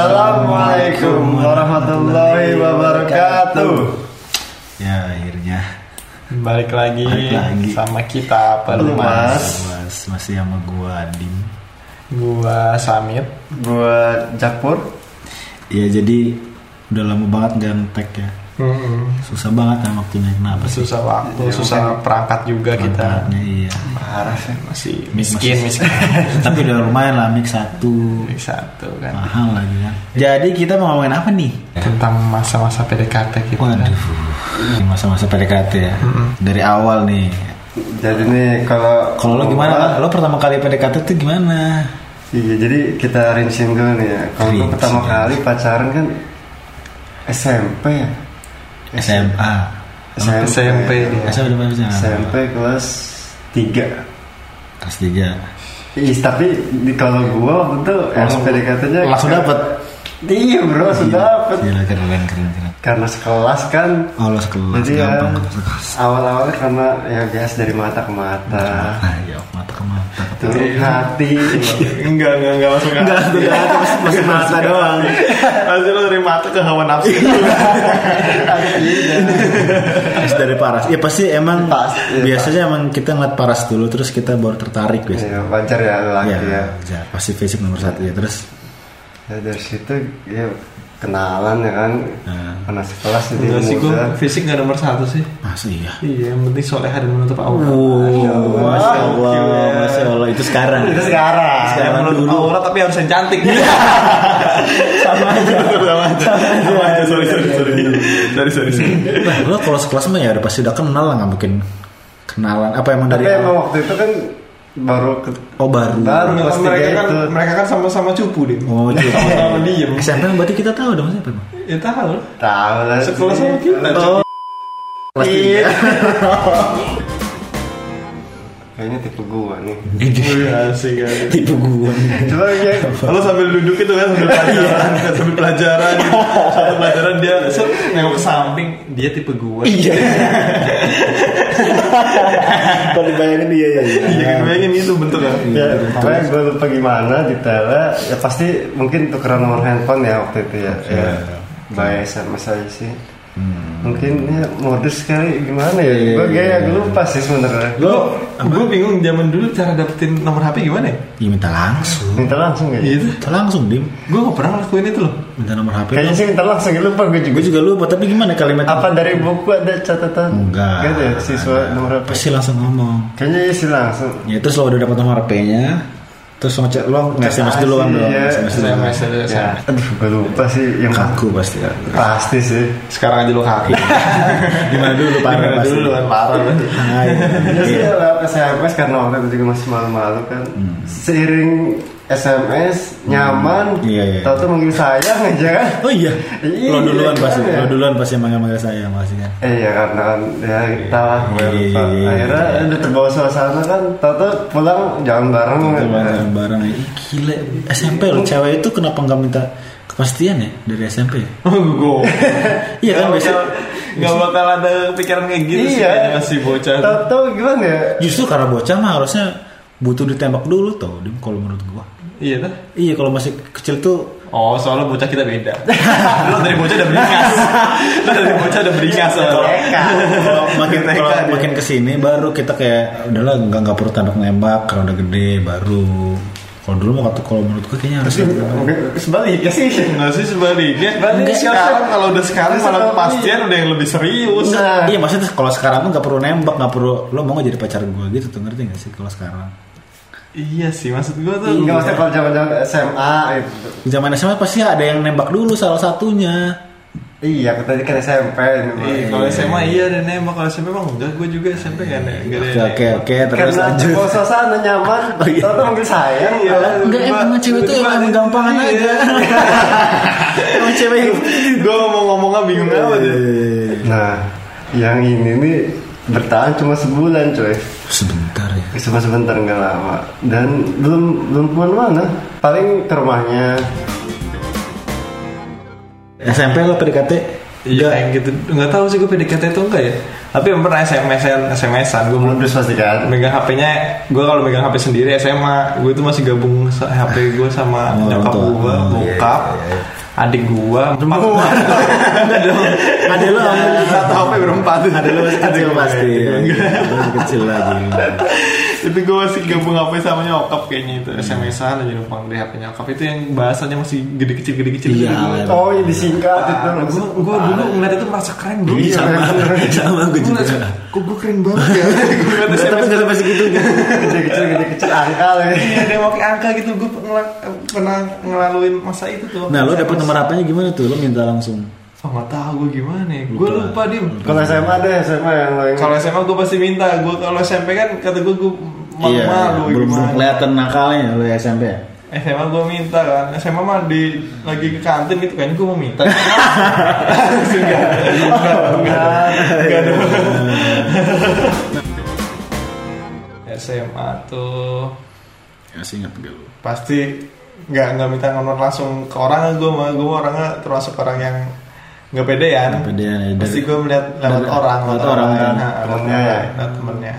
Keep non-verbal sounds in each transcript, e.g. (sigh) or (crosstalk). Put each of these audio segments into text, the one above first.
Assalamualaikum warahmatullahi wabarakatuh. Ya akhirnya Balik lagi, Balik lagi. Iya, sama kita Pelumas. Pelumas Mas masih sama gua Adim. Gua Samit Buat Jakpur, Ya jadi udah lama banget nggak ngetek ya. Susah banget kan waktunya kenapa sih? Susah waktu, Iya, susah perangkat juga kita Perangkatnya, iya. parah sih. Masih Mix- miskin, miskin Tapi udah lumayan lah mix satu Mix Satu kan mahal lagi kan. Jadi kita mau ngomongin apa nih? Tentang masa-masa PDKT kita Waduh, Ini masa-masa PDKT ya. Dari awal nih. Jadi nih kalau Kalau lo gimana? Lo pertama kali PDKT tuh gimana? Iya, jadi kita rinsin dulu nih ya. Kalau gua Rinsin. pertama kali pacaran kan SMP ya. SMA. SMP. SMP dia. SMA udah pacaran. SMP kelas 3. Kelas tiga. Ih, tapi di kalau gua waktu itu Langsung- SPDKT-nya langsung dapet. Iya, Bro, langsung dapet. Gila keren keren keren. Karena sekelas kan Oh lo sekelas Jadi ya, gampang lo sekelas. awal-awalnya karena ya biasa dari mata ke mata, Ah ya mata ke mata. turun Iya. hati, Enggak, enggak, enggak langsung Enggak, enggak, masih (laughs) mata doang Langsung lu dari mata ke hawa nafsu Iya. Terus dari paras. Ya pasti emang Pas- iya, biasanya emang kita ngeliat paras dulu terus kita baru tertarik biasanya. ya, wajar ya laki Iya. ya. iya. Pasti fisik nomor satu ya terus. Ya, dari situ ya kenalan ya kan, Nah. karena sekelas jadi Enggak sih, muda. gua fisik gak nomor satu sih Masa iya. Iya, yang penting soleha dan menutup Wow, masya Allah, masya Allah itu sekarang. Itu sekarang. Sekarang Jangan menutup dulu. aurat tapi harus yang cantik. sama (laughs) aja. sama aja. Sama aja. Sorry, sorry, sorry. Sorry, sorry, sorry. Iya, Nah, lo kalau sekelas mah ya udah pasti udah kenal lah nggak mungkin kenalan. Apa emang dari Tapi emang waktu itu kan baru ke, oh baru. baru kelas tiga (laughs) mereka kan itu. mereka kan sama-sama cupu deh. Oh, cuy. Sama-sama diem. SMP berarti kita tahu dong siapa emang. Ya tahu. Tahu lah. Sekelas sama Iya. kita. Oh, Kelas tiga. kayaknya tipe gua nih. Wih, asik asik. Tipe gue. Coba ya. Lalu sambil duduk itu kan (laughs) sambil pelajaran, sambil pelajaran, sambil pelajaran dia set, nengok ke samping, dia tipe gua. Iya. Kalau dibayangin iya iya. Iya kan bayangin itu bentuk kan. Ya, pokoknya gue lupa gimana detailnya ya pasti mungkin tukeran nomor handphone ya waktu itu ya, Iya. ya by SMS aja sih mungkin ya modus kali gimana ya Hmm. Iya, gue iya, kayak gue lupa sih sebenarnya Lo, gue bingung zaman dulu cara dapetin nomor HP gimana ya? Ya minta langsung. minta langsung ya Gitu. Minta langsung dim. Gue gak pernah ngelakuin itu (laughs) loh. Minta nomor HP. kayaknya sih minta langsung ya lupa gue juga Gue juga lupa tapi gimana kalimat? apa dari buku ada catatan Enggak. Gak ada ya, siswa nomor apa Pasti langsung ngomong. kayaknya ya sih langsung Ya terus lo udah dapat nomor HP-nya. Terus lo ngecek lo nggak SMS duluan dong. Iya. SMS duluan. SMS ya aduh gue lupa sih yang Kaku pasti. pasti sih Sekarang aja lu kaki. (laughs) Gimana dulu parah Gimana pasti. dulu kan parah kan. Ah, iya. Ya sih lewat SMS karena orang itu juga masih malu-malu kan. Seiring SMS nyaman, Iya, iya. tau tuh manggil sayang aja kan. Oh iya. Iya, Lo duluan kan pasti. ya. Lo duluan pasti yang manggil-manggil saya pasti kan. Eh ya karena kan ya kita lah Iya, iya, lupa. iya, iya. akhirnya udah terbawa suasana kan. Tau tuh pulang jalan bareng. kan. barang-barang ya. Ih, gila SMP loh cewek itu kenapa nggak minta kepastian ya dari SMP ya? Gue. iya kan biasa Gak bakal ada pikiran kayak gitu sih. Iya. kayaknya Masih bocah. Tau tuh gimana ya? justru karena bocah mah harusnya butuh ditembak dulu tau Dim kalau menurut gua Iya tuh. iya kalau masih kecil tuh Oh soalnya bocah kita beda. (laughs) Lu dari bocah udah (laughs) beringas. Lu dari bocah udah beringas soalnya. Mereka. kalau makin TK kalau dia. makin kesini baru kita kayak udahlah nggak nggak perlu tembak nembak karena udah gede baru kalau dulu mah waktu kalau menurut gua kayaknya harus Sebaliknya sih. Enggak sih sebaliknya. Sebaliknya. sekarang kalau udah sekarang malah Sebaliknya. kepastian udah yang lebih serius. Nah, iya maksudnya kalau sekarang tuh nggak perlu nembak nggak perlu lo mau nggak jadi pacar gua gitu tuh ngerti nggak sih kalau sekarang Iya sih maksud gue tuh. nggak maksudnya kalau zaman-zaman SMA itu. zaman SMA pasti ada yang nembak dulu salah satunya Iya, kita tadi kan SMP. ini, Bang. Iya, kalau SMA iya dan emang kalau SMP emang enggak gue juga SMP kan enggak oke ada oke oke terus Karena lanjut terbawa suasana nyaman, Oh, iya. tau tuh manggil sayang. Iya. malah Enggak tiba-tiba- emang cewek itu tiba-tiba- emang gampangan iya. aja. (laughs) emang cewek itu. gue mau ngomongnya bingung apa deh Nah, yang ini nih bertahan cuma sebulan coy Sebentar ya. cuma sebentar nggak lama dan belum belum kemana-mana paling ke rumahnya SMP lo PDKT Iya kayak gitu nggak tahu sih gue PDKT itu enggak ya tapi yang pernah SMS-an SMS-an gue belum modus pasti kan megang HP-nya gue kalau megang HP sendiri SMA gue tuh masih gabung sa- HP gue sama Oh, nyokap betul. gue Oh, iya, bokap adik gue empat Ada lo satu HP berempat Ada lo masih kecil Adik gue. pasti. Iya, Lo masih kecil lagi. itu gue masih gabung HP sama nyokap kayaknya itu SMS-an aja numpang di HP nyokap itu yang bahasanya masih gede kecil gede kecil Iya. Ah. oh ini disingkat itu gue gue dulu ngeliat itu merasa keren bro Iya, Sama, sama gue juga. kok gue keren banget ya (laughs) gue ngeliat Tapi SMS nggak sampai segitu. kecil kecil gede kecil angka lagi Iya, ada yang pakai angka gitu. Gue pernah ngelaluin masa itu tuh. Nah, lo dapet nomor apanya gimana tuh? Lo minta langsung. Oh, nggak tahu gue gimana. ya. Gue lupa dia. kalau SMA deh SMA yang lain Kalau SMA gue pasti minta. Gue kalau SMP kan kata gue gue malu malu Iya, belum belum gimana. kelihatan nakalnya lo SMP. ya? SMA gue minta kan. SMA mah di lagi ke kantin gitu kayaknya gue mau (laughs) minta. Langsung kan. nggak ada. Nggak ada. Nggak ada. SMA tuh Ya sih ingat gak lo. pasti nggak nggak minta nomor langsung ke orang gue mah gue orangnya termasuk orang yang nggak pedean Nggak pedean, ya. pasti Dari- gue melihat lewat dari- orang lewat orang, kan. Nah, lewat Temennya, orang, ya. lewat temennya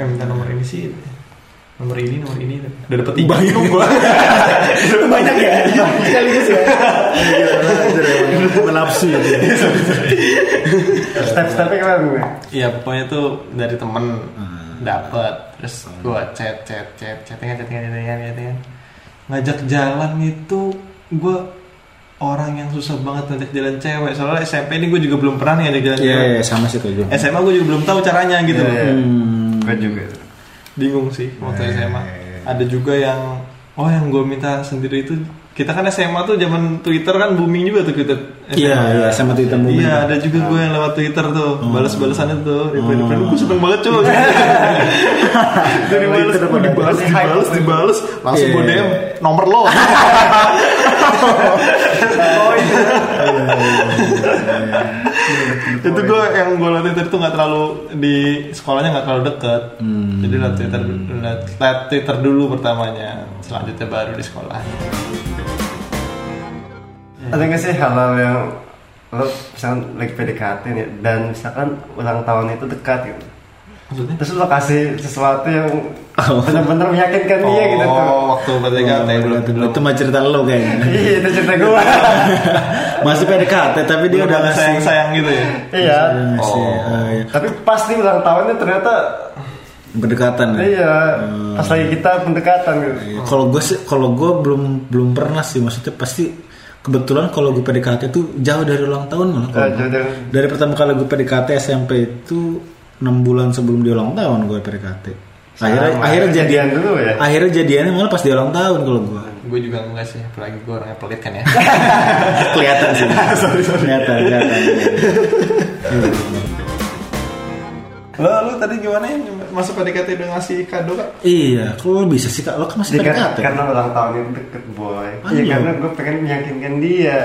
eh minta nomor ini sih nomor ini nomor ini udah dapet tiga (laughs) Banyak. gue Banyak ya. Sekaligus ya. Menapsi ya. step stepnya keren gue iya pokoknya tuh dari temen Hmm. dapet terus gue chat chat chat chattingan chattingan chattingan chattingan ngajak jalan itu gue orang yang susah banget ngajak jalan cewek soalnya SMP ini gue juga belum pernah nih ngajak jalan Iya cewek iya, sama sih tuh gue. SMA gue juga belum tahu caranya gitu Iya, loh. Iya. iya. Hmm. gue juga Bingung sih waktu SMA. Ada juga yang oh yang gue minta sendiri itu kita kan SMA tuh zaman Twitter kan booming juga tuh Twitter. Iya iya sama Twitter Movie. Iya, ada juga gue yang lewat Twitter tuh, balas-balasannya tuh, reply-reply. Gue seneng banget cuy. Dari balas, Twitter oh, dibalas, pada- dibalas, dibalas, langsung Iya. gue DM nomor (laughs) lo. Oh, iya. itu gue yang gue liat Twitter tuh nggak terlalu di sekolahnya nggak terlalu deket, jadi liat Twitter, liat, liat Twitter dulu pertamanya, selanjutnya baru di sekolah. ada nggak sih hal-hal yang lo misalkan lagi PDKT nih dan misalkan ulang tahun itu dekat gitu Maksudnya? terus lo kasih sesuatu yang Oh. benar-benar meyakinkan dia gitu tuh Oh, waktu PTKT belum belum Iya, Itu mah cerita lo (laughs) kayaknya. iya itu cerita gue Masih PDKT tapi dia udah ngasih. sayang sayang gitu ya iya Ngasih, eh, iya. tapi pasti ulang tahunnya ternyata Berdekatan ya. iya pas lagi kita pendekatan gitu Kalau gue sih, kalau gue belum belum pernah sih maksudnya pasti kebetulan kalau gue PDKT itu jauh dari ulang tahun malah. kalau Eh, gua. jadi Dari pertama kali gue PDKT SMP itu 6 bulan sebelum dia ulang tahun gue PDKT. Akhirnya Sama, akhirnya Ah, jadian jadian dulu ya akhirnya jadiannya malah pas dia ulang tahun kalau (laughs) gue. gue juga enggak sih apalagi gue orangnya pelit kan (laughs) ya kelihatan sih. Kelihatan, kelihatan. (laughs) lo lo tadi gimana ya masuk PDKT udah ngasih kado kak Iya, kalau bisa sih kak, lo kan masih Jadi kan- PDKT. karena ulang tahun itu deket boy iya Iya. karena gue pengen meyakinkan dia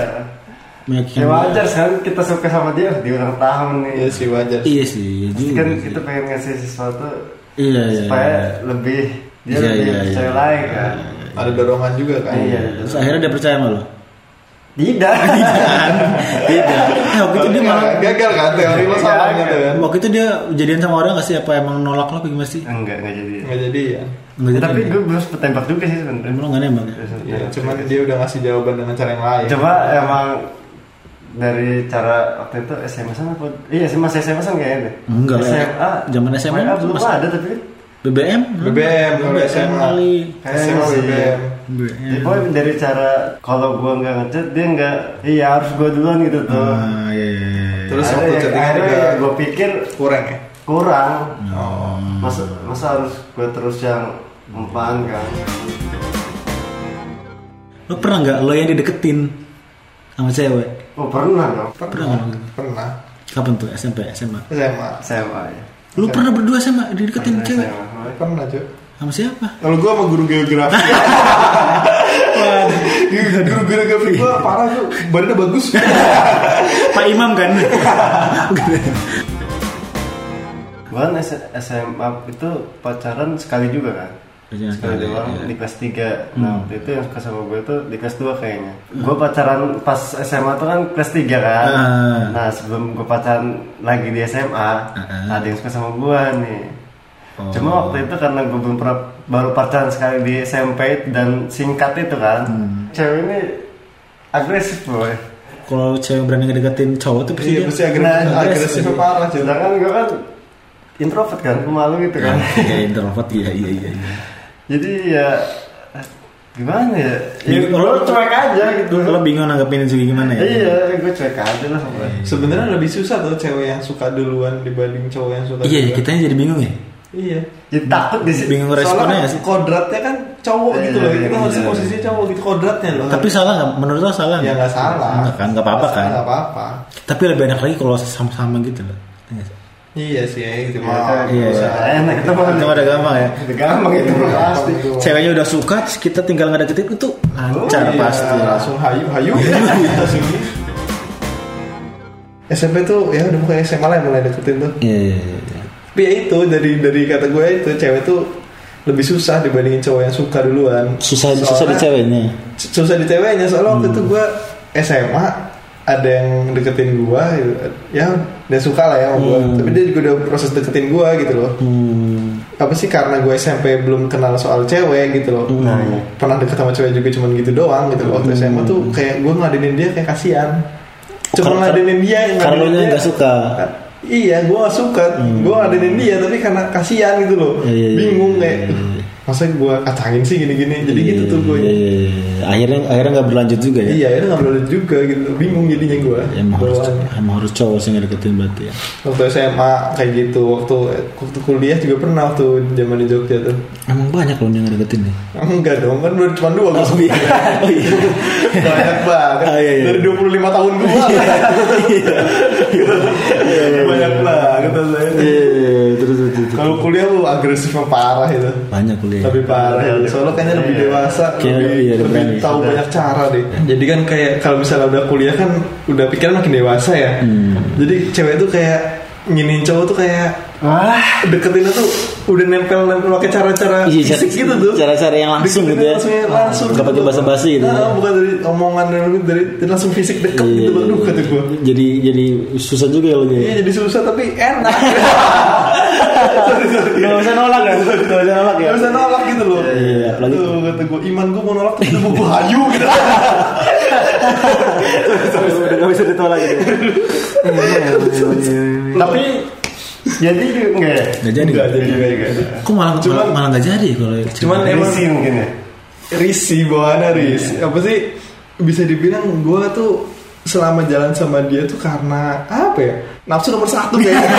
Meyakinkan ya dia. wajar sekarang kita suka sama dia di ulang tahun nih sih wajar Iya sih, Pasti juga kan sih. kita pengen ngasih sesuatu Iya, iya. supaya iya. lebih dia Iya, lebih iya, percaya iya. lagi kan ada dorongan juga kan iya Terus akhirnya dia percaya (laughs) sama lo? tidak (laughs) Tidak. Nah, waktu itu dia malah gagal kan teori lo salah gitu kan waktu itu dia jadian sama orang gak sih? Apa emang nolak lo apa gimana sih? enggak enggak jadi nggak jadi ya Nggak jadi. tapi gue belum sempet tembak juga sih sebenarnya lo gak nembak ya? Iya, cuman dia udah ngasih jawaban dengan cara yang lain coba emang dari cara waktu itu SMS an apa iya sih masih SMS an kayaknya deh Enggak lah. SMA Zaman SMA WA belum masih- ada tapi BBM? BBM kalau BBM SMA kali. SMA Iya sih. BBM Ya, BBM. pokoknya dari cara kalau gua nggak ngechat dia nggak iya harus gua duluan gitu tuh. Ah, iya, iya, iya. terus Ada waktu yang chattingan akhirnya juga ya gua pikir kurang ya kurang. Masa masa harus gua terus yang empaan kan. Lo pernah gak lo yang dideketin sama cewek? Oh pernah dong. Pernah gak? pernah Kapan tuh? SMP, SMA? SMA SMA ya. Lo pernah berdua sama dideketin cewek? SMA. pernah cuy Sama siapa? kalau gue sama guru geografi guru geografi gue parah tuh badannya bagus Pak Imam kan? (laughs) Gua kan S- SMA itu pacaran sekali juga kan. Kerjaan sekali kali, doang iya. Hmm. di kelas 3 nah waktu itu yang suka sama gue tuh di kelas 2 kayaknya gue pacaran pas SMA tuh kan kelas 3 kan Ah. nah sebelum gue pacaran lagi di SMA Ah. ada yang suka sama gue nih Oh. cuma waktu itu karena gue belum pernah baru pacaran sekali di SMP dan singkat itu kan Hmm. cewek ini agresif boy Kalau cewek berani ngedeketin cowok tuh pasti dia Iya, pasti agresif, nah, agresif parah cuy. sedangkan gue kan introvert kan pemalu gitu kan Iya, introvert iya iya iya. iya. jadi ya gimana ya, ya Bingung. gue cuek aja gitu Lu bingung nanggepin juga gimana ya? Iya, gue cuek aja lah sama dia. Sebenarnya lebih susah tuh cewek yang suka duluan dibanding cowok yang suka Iya, ya, duluan. kitanya jadi bingung ya. Iya. Ya, takut di sini. Bingung responnya Soalnya ya sih. kodratnya kan cowok Iya, gitu loh. Kita iya, harus iya. posisinya cowok gitu kodratnya loh. Tapi salah nggak? Menurut lo salah ya nggak salah. Enggak kan, nggak apa-apa kan. Nggak apa-apa. Tapi lebih enak lagi kalau sama-sama gitu loh. Ngerti nggak sih? Iya sih, ya, itu Iya, iya. mah. kan, Iya. usaha enak itu mah. Itu ada gampang ya. Itu gampang itu mah pasti. Ceweknya udah suka, terus kita tinggal ngedeketin itu lancar Iya, pasti. Langsung hayu (laughs) hayu. Langsung. SMP tuh ya udah bukan SMA lah yang mulai deketin tuh. Iya, iya, iya, iya. Tapi ya itu dari dari kata gue itu cewek tuh lebih susah dibandingin cowok yang suka duluan. Susah Soalnya- Iya, susah di ceweknya. C- Susah di ceweknya soalnya waktu itu Hmm. gue SMA ada yang deketin gue gitu. ya dia suka lah ya sama gue. Tapi dia juga udah proses deketin gue gitu loh. Hmm. Apa sih karena gue SMP belum kenal soal cewek gitu loh. Hmm. Nah, iya. Pernah deket sama cewek juga cuman gitu doang gitu loh. Waktu SMA tuh kayak gue ngadenin dia kayak kasihan. Cuma Oh, Karena- ngadenin dia yang Karena lu ngadenin nya dia. nggak suka. Hmm. Iya, gue gak suka. Gue ngadenin dia, tapi karena kasihan gitu loh. Iya, iya, iya, Bingung iya, kayak, iya, iya. masa gue kacangin sih gini-gini. Jadi gitu tuh gue. Iya, iya, iya. Akhirnya akhirnya nggak berlanjut juga ya. Iya, itu gak boleh juga gitu. Bingung jadinya gue. Emang harus, emang harus cowok sih ngedeketin berarti ya. Waktu SMA kayak gitu. Waktu, waktu kuliah juga pernah waktu zaman di Jogja tuh. Emang banyak loh yang ngedeketin nih. Enggak dong, kan baru cuma dua gue. iya. (laughs) Oh iya. Banyak banget. Ah, iya, iya. Dari 25 tahun (laughs) gue. iya, Banyak banget. rasanya. Terus terus. terus. Kalau kuliah lu agresifnya parah itu. Banyak kuliah. lebih parah ya. soalnya kayaknya lebih Iya. dewasa Iya. Kayaknya lebih, iya, lebih lebih berani. tahu Sudah. banyak cara deh jadi kan kayak kalau misalnya udah kuliah kan udah pikiran makin dewasa ya Hmm. jadi cewek tuh kayak nginin cowok tuh kayak Wah, deketinnya tuh udah nempel-nempel pakai cara-cara Iya, fisik cara- gitu tuh cara-cara yang langsung Deketinnya gitu ya. langsung, langsung Nggak pakai basa-basi gitu. Iya, Nah, bukan dari omongan dari, dari langsung fisik deket gitu loh aduh kata gue Eh, Jadi jadi susah juga ya lo Iya ya. jadi susah tapi enak (laughs) Gak usah nolak kan? Gak usah nolak Gak bisa nolak gitu loh iya, iya. Apalagi- Tuh, kata gue Iman gue mau nolak tapi gue mau (laughs) hayu gitu Udah gak bisa ditolak gitu. tapi jadi enggak ya? Gak jadi. Enggak jadi Enggak, enggak jadi. Kok malah Cuman- malah, malah gak jadi kalau Cuman emang Emosi mungkin ya. Risi bawaannya Risi Apa sih Bisa dibilang gue tuh Selama jalan sama dia tuh karena Apa ya Nafsu nomor satu gitu. kayaknya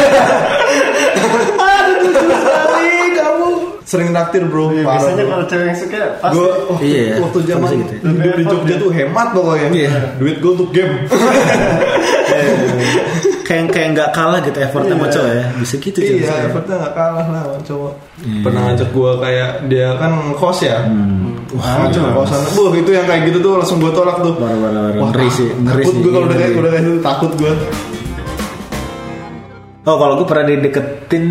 Aduh lucu sekali Kamu Sering naktir bro Ya, Parah, biasanya bro. kalau cewek yang suka pasti Gue waktu, Iya, iya. waktu zaman Pasti gitu ya. hidup di Jogja tuh hemat pokoknya Iya. Duit gue untuk game (laughs) kayak kayak nggak kalah gitu effortnya sama Iya. cowok ya. Bisa gitu sih. Iya effortnya gak kalah lah sama cowok Pernah ngajak gue kayak Dia kan ngekos ya Wah, Ngajak kosan Wah itu yang kayak gitu tuh langsung gue tolak tuh Baru baru baru Wah, ngeri sih, ngeri takut sih. gue kalau udah Ngeri. kayak udah kayak gitu takut gue. Oh kalau gue pernah dideketin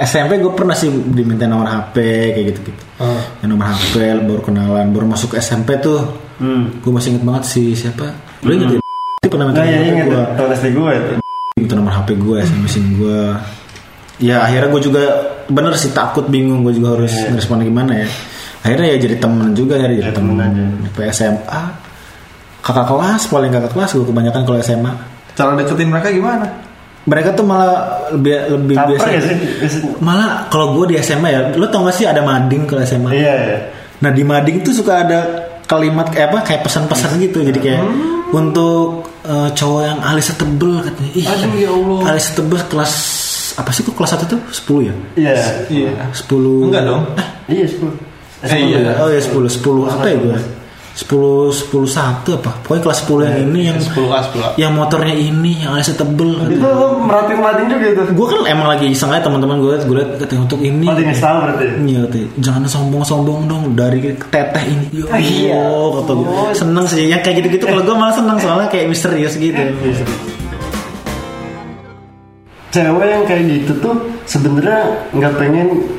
SMP gue pernah sih diminta nomor HP kayak gitu gitu. Ah. Ya, nomor HP baru kenalan baru masuk ke SMP tuh. Hmm. Gue masih inget banget sih siapa. Lu inget ya? Dia pernah minta Nah, ya nomor ingat HP gue. tahun SD gue itu. Minta nomor HP gue, SMS-in gue. Ya akhirnya gue juga bener sih takut bingung gue juga harus Iya. ngerespon gimana ya. Akhirnya ya jadi temen juga ya jadi Ya, temen temen aja. Sampai SMA kakak kelas paling kakak kelas gue kebanyakan kalau SMA Cara deketin mereka gimana? mereka tuh malah lebih lebih Caper biasa ya sih biasanya. Malah kalau gue di SMA ya, lo tau gak sih ada mading kalau SMA? Iya, ya. Nah di mading tuh suka ada kalimat kayak apa kayak pesan-pesan gitu jadi kayak Hmm. untuk eh, cowok yang alisnya tebel katanya ih Aduh, ya Allah. alisnya tebel kelas apa sih kok kelas satu tuh 10 ya Iya. Iya. 10 Enggak dong. Ah, Iya, sepuluh. Eh, iya. oh ya 10 10 apa ya gue 10 10 satu apa pokoknya kelas 10 Eh, yang ini yang 10 kelas pula. yang motornya ini yang alisnya tebel Itu lo merhatiin mading juga itu. gue kan emang lagi iseng aja teman-teman gue gue liat katanya untuk ini Mading yang setahun berarti. Iya, Teh. jangan sombong-sombong dong dari teteh ini. Ya Ah, iya. Allah, kata gue. Seneng sih, yang kayak gitu-gitu kalau gue malah seneng soalnya kayak misterius gitu. Iya, Cewek yang kayak gitu tuh sebenarnya nggak pengen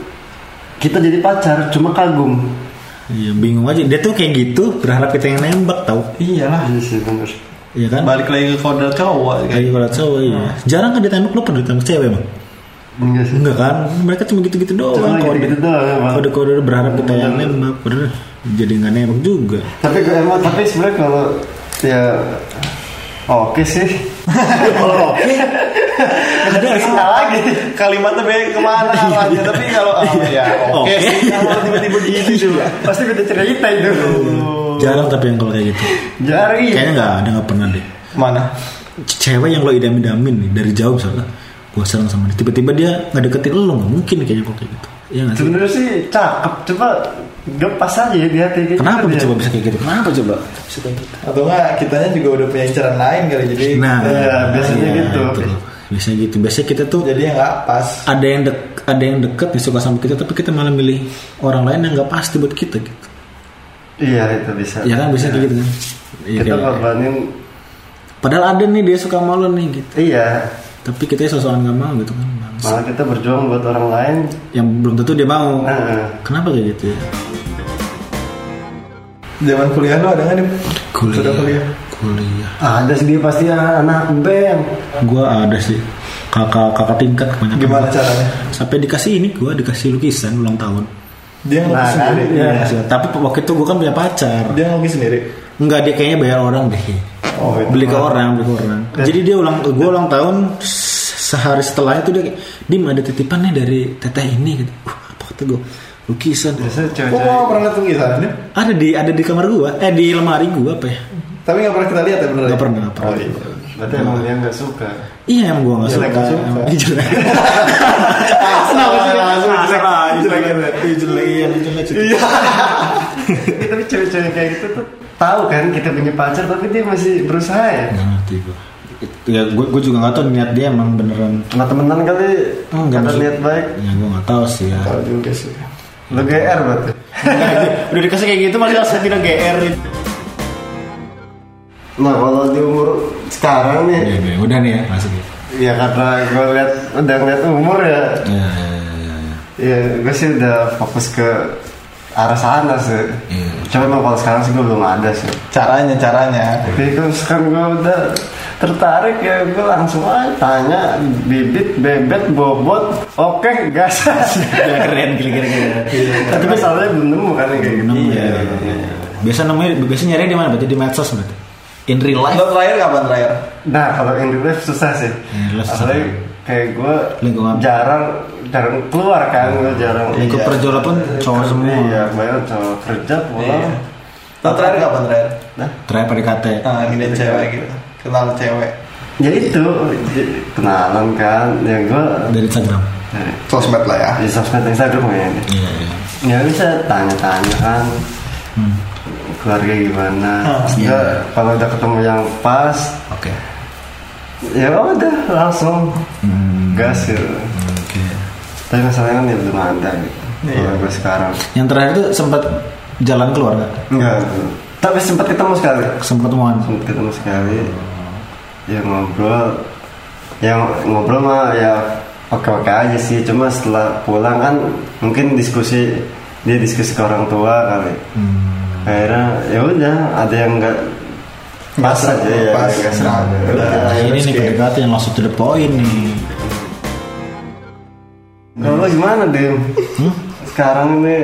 kita jadi pacar cuma kagum Iya bingung aja. Dia tuh kayak gitu berharap kita yang nembak tau. iyalah iya sih bener Iya kan? balik lagi ke kode cowok kan? Kayak kalau cowok iya. Oh. Jarang kan ditembak lu pernah ditembak cewek emang? enggak sih Enggak kan? Mereka cuma gitu-gitu doang. Cuma kode. gitu-gitu doang, ya, emang. Kode-kode berharap kita yang nembak. Bener. Jadi nggak nembak (laughs) juga. tapi gue emang tapi sebenarnya kalau ya oke sih (laughs) kalau oke Ada salah lagi (laughs) kalimatnya be kemana arahnya tapi kalau ah, ya Iya. oke Oke. sih kalau tiba-tiba gitu juga pasti beda cerita itu Jarang tapi yang kalau kayak gitu. jarang iya. Kayaknya nggak ada nggak pernah deh. mana C- Cewek yang lo idam-idamin nih dari jauh misalnya. Gue serang sama dia. Tiba-tiba dia nggak deketin lo nggak mungkin kayaknya kalau kayak gitu. Iya nggak sih? sebenarnya sih cakep coba gak pas aja ya di hati kayak Kenapa gitu coba ya. bisa kayak gitu? Kenapa coba? atau enggak kitanya Kan juga udah punya inceran lain kali jadi Nah, Iya, biasanya iya, gitu. itu. Biasanya gitu. Biasanya kita tuh jadi nggak pas ada yang dek, ada yang deket nih suka sama kita tapi kita malah milih orang lain yang nggak pasti buat kita gitu iya itu bisa ya kan bisa kayak gitu kan Iya, kita kayak- korbanin padahal ada nih dia suka sama lo nih gitu iya tapi kita sosokan nggak mau gitu kan Bang. malah kita berjuang buat orang lain yang belum tentu dia mau Heeh. kenapa kayak gitu ya zaman kuliah lu ada nggak nih Sudah kuliah kuliah Ah, ada sih dia pasti anak band gue ada sih kakak kakak tingkat kebanyakan gimana caranya sampai dikasih ini gue dikasih lukisan ulang tahun dia ngelukis Nah, kan, sendiri iya. tapi waktu itu gue kan punya pacar dia ngelukis sendiri Enggak dia kayaknya bayar orang deh. Oh, itu beli ke orang, beli ke orang. Iya. Jadi dia ulang gue ulang tahun se- sehari setelahnya itu dia kayak, Dim ada titipan nih dari teteh ini gitu. Uh, apa kata gue? Lukisan. biasanya kok Oh. cewek-cewek mau pernah ketemu kisarannya Ada di ada di kamar gua, eh di lemari gua apa ya? tapi nggak pernah kita lihat ya bener Enggak pernah, nggak pernah. oh iya berarti emang dia nggak suka Iya emang gua enggak Jelek, suka. nggak suka. Emang- Ih, (laughs) Jelek. Kenapa sih? Asal aja, Jelek, jelek. Ih, jelek, iya, jelek, jelek. Iya, (laughs) tapi cewek-cewek kayak gitu tuh tahu kan kita punya pacar tapi dia masih berusaha ya Nggak ngerti gua. Ya gue gue juga nggak tahu niat dia emang beneran Nah temenan kali Enggak, kata maksud- niat baik Oh, Ya gue nggak tahu sih ya. tahu juga sih Lu GR berarti (laughs) Udah dikasih kayak gitu masih saya tidak GR. Nah kalau di umur sekarang nih Iya, iya, udah nih ya masuk ya. Ya karena gue lihat udah ngeliat umur ya Ya, ya, ya, ya. Ya gue sih udah fokus ke arah sana sih Iya. Cuma emang kalau sekarang sih gue belum ada sih caranya caranya Tapi kalau sekarang gue udah tertarik ya gue langsung aja tanya bibit, bebet, bobot Oke gas Gila, keren, gila, keren, keren. Tapi masalahnya belum nemu kan yang kayak gitu Nemu ya. Biasa namanya, biasa nyari di mana? Berarti di medsos berarti. In real life. lo terakhir kapan terakhir Nah kalau in real life susah sih In real life susah. Apalagi kayak gue Lingkungan. jarang jarang keluar kan gue jarang Lingkup Iya. perjola pun cowok semua. Iya banyak cowok kerja pulang Iya. lo terakhir kapan terakhir Nah Terakhir PDKT. nah gini cewek gitu kenal cewek ya itu j- kenalan kan ya gue Dari Instagram. sosmed lah ya di sosmed Instagram ya ini Iya, iya. ya bisa tanya-tanya kan keluarga gimana Ah, Terus iya. gua kalau udah ketemu yang pas Oke. ya udah langsung Hmm, gas gitu Oke. tapi masalahnya kan ya belum ada gitu kalau gue sekarang Yang terakhir itu sempat jalan keluar nggak? Enggak. Tapi sempat ketemu sekali. Sempat ketemuan. Sempat ketemu sekali. Ya ngobrol. Yang ngobrol mah ya oke-oke aja sih. Cuma setelah pulang kan mungkin diskusi dia diskusi ke orang tua kali. Hmm. Akhirnya ya udah ada yang enggak pas Nggak aja ya. pas. nggak serang. Iya, Nah, Udah. Nah, ini nih terus kayak- PDKT yang langsung to the point nih. Kalau lu gimana, Dim? Hmm? Sekarang ini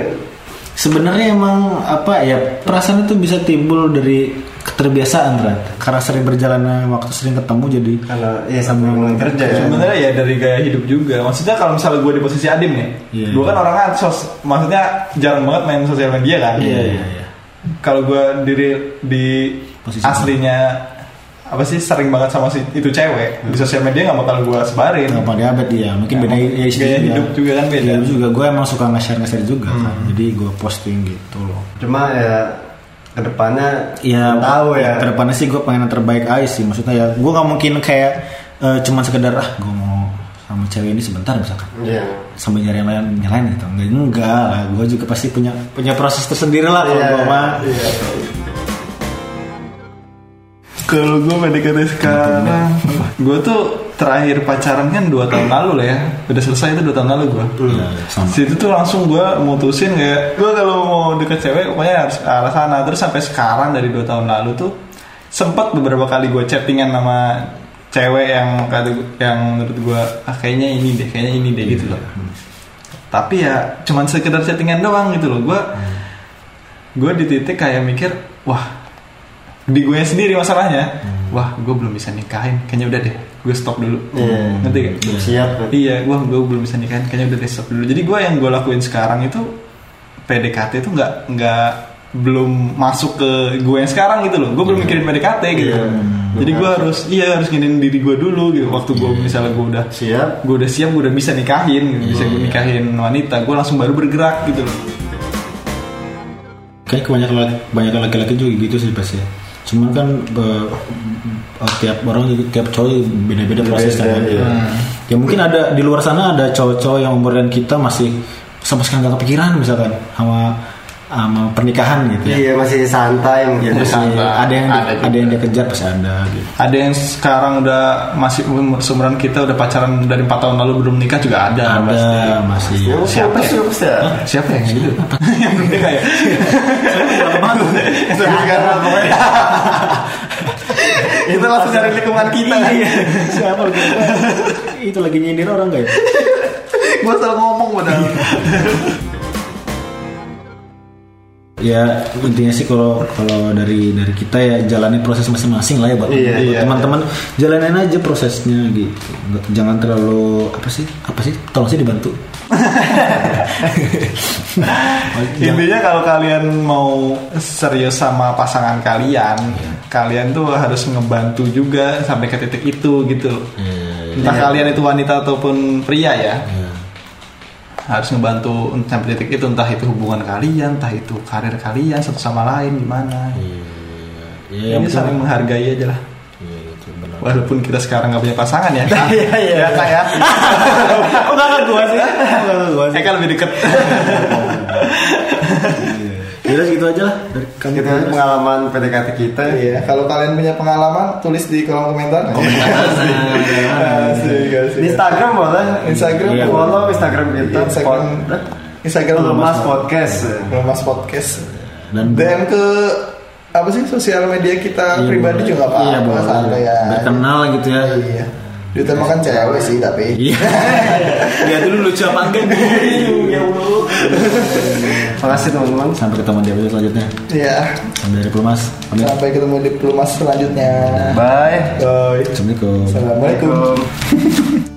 Sebenarnya emang apa ya perasaan itu bisa timbul dari keterbiasaan Rat. Karena sering berjalannya waktu sering ketemu jadi kalau ya sambil mulai kerja ya. Sebenarnya ya dari gaya hidup juga. Maksudnya kalau misalnya gue di posisi Adin nih, Iya. gue kan orangnya sos, maksudnya jarang banget main sosial media kan. iya. Kalau gue diri di Posisi aslinya apa sih sering banget sama si itu cewek Hmm. di sosial media nggak bakal gue sebarin. Kenapa dia abad dia? Mungkin beda ya, istri gaya hidup juga kan beda. Gaya hidup juga gue emang suka nge-share nge-share juga kan. Jadi gue posting gitu loh. Cuma ya kedepannya Ya tahu ya. Kedepannya sih gue pengen yang terbaik aja sih. Maksudnya ya gue nggak mungkin kayak eh, cuman sekedar ah gue mau sama cewek ini sebentar misalkan Iya. sambil nyari yang lain yang lain gitu enggak enggak lah gue juga pasti punya punya proses tersendiri lah kalau Iya, gue mah iya. Kalau gue PDKT sekarang, gue tuh terakhir pacaran kan dua tahun lalu lah ya udah selesai itu dua tahun lalu gue Ya, sama. situ tuh langsung gue mutusin kayak gue kalau mau deket cewek pokoknya harus ke arah sana terus sampai sekarang dari dua tahun lalu tuh sempet beberapa kali gue chattingan sama cewek yang kata- yang menurut gue ah kayaknya ini deh kayaknya ini deh gitu loh tapi ya cuman sekedar chattingan doang gitu loh gue gue di titik kayak mikir wah di gue sendiri masalahnya Hmm. wah gue belum bisa nikahin kayaknya udah deh gue stop dulu Iya. nanti gak? Belum siap kan? Iya, gue gue belum bisa nikahin, kayaknya udah desktop dulu. Jadi gue yang gue lakuin sekarang itu PDKT itu nggak nggak belum masuk ke gue yang sekarang gitu loh. Gue belum mikirin PDKT gitu. Iya. Jadi gue harus iya harus nginin diri gue dulu gitu. Waktu gue misalnya gue udah Iya. siap Iya. gue udah siap, gue udah bisa nikahin, gitu. bisa gue nikahin wanita, gue langsung baru bergerak gitu loh. Kayak kebanyakan laki- kebanyakan laki-laki juga gitu sih pasti. ya. Cuman kan eh, eh, tiap orang juga- tiap cowok juga beda-beda prosesnya. Beda, iya. Ya mungkin ada di luar sana ada cowok-cowok yang umurnya kita masih sama sekali nggak kepikiran misalkan sama sama pernikahan gitu ya. iya masih santai mungkin Iya, Masih Masih- santai. ada yang Ada ada, juga. yang dia kejar pasti ada gitu. Ada yang sekarang udah masih umur seumuran kita udah pacaran dari 4 tahun lalu belum nikah juga ada. ada Iya, pasti. masih. Ya, Siapa pasti, ya? pasti ya? Siapa yang gitu? yang ya? penting kayak Tapi sekarang apa ya? itu langsung dari lingkungan kita kan. Siapa lagi? (laughs) Itu lagi nyindir orang nggak ya? Gue selalu ngomong padahal. Ya intinya sih kalau kalau dari dari kita ya jalani proses masing-masing lah ya buat Iya, buat iya. teman-teman jalanin aja prosesnya gitu Nggak- jangan terlalu apa sih apa sih tolong sih dibantu Intinya kalau kalian mau serius sama pasangan kalian, kalian tuh harus ngebantu juga sampai ke titik itu gitu. Iya. Entah kalian itu wanita ataupun pria ya, harus ngebantu sampai titik itu entah itu hubungan kalian, entah itu karir kalian satu sama lain gimana. ya, Ini saling menghargai aja lah. Iya, Walaupun kita sekarang nggak punya pasangan (laughs) ya. Iya, iya. Ya, Kak, ya. enggak enggak gua sih enggak enggak gua sih Eka kan lebih deket. ya udah gitu aja lah dari kami Kita pengalaman PDKT kita Iya, kalau kalian punya pengalaman tulis di kolom komentar. (laughs) Asik, asik. Di Instagram boleh Instagram Iya, Iya. follow Instagram kita Instagram Pod- Instagram Lemas Lemas Podcast Lemas Podcast. dan DM ke apa sih sosial media kita Iya, pribadi boleh. juga nggak Iya, apa-apa boleh. santai ya. berkenal gitu ya Iya. Diutamakan cewek sih tapi. (laughs) iya lihat dulu lucu apa enggak Iya. Ya Allah. Makasih teman-teman sampai ketemu di episode selanjutnya Iya. sampai dari Plumas pamit Sampai ketemu di pelumas selanjutnya. Iya. Bye Bye. assalamualaikum Assalamualaikum. Assalamualaikum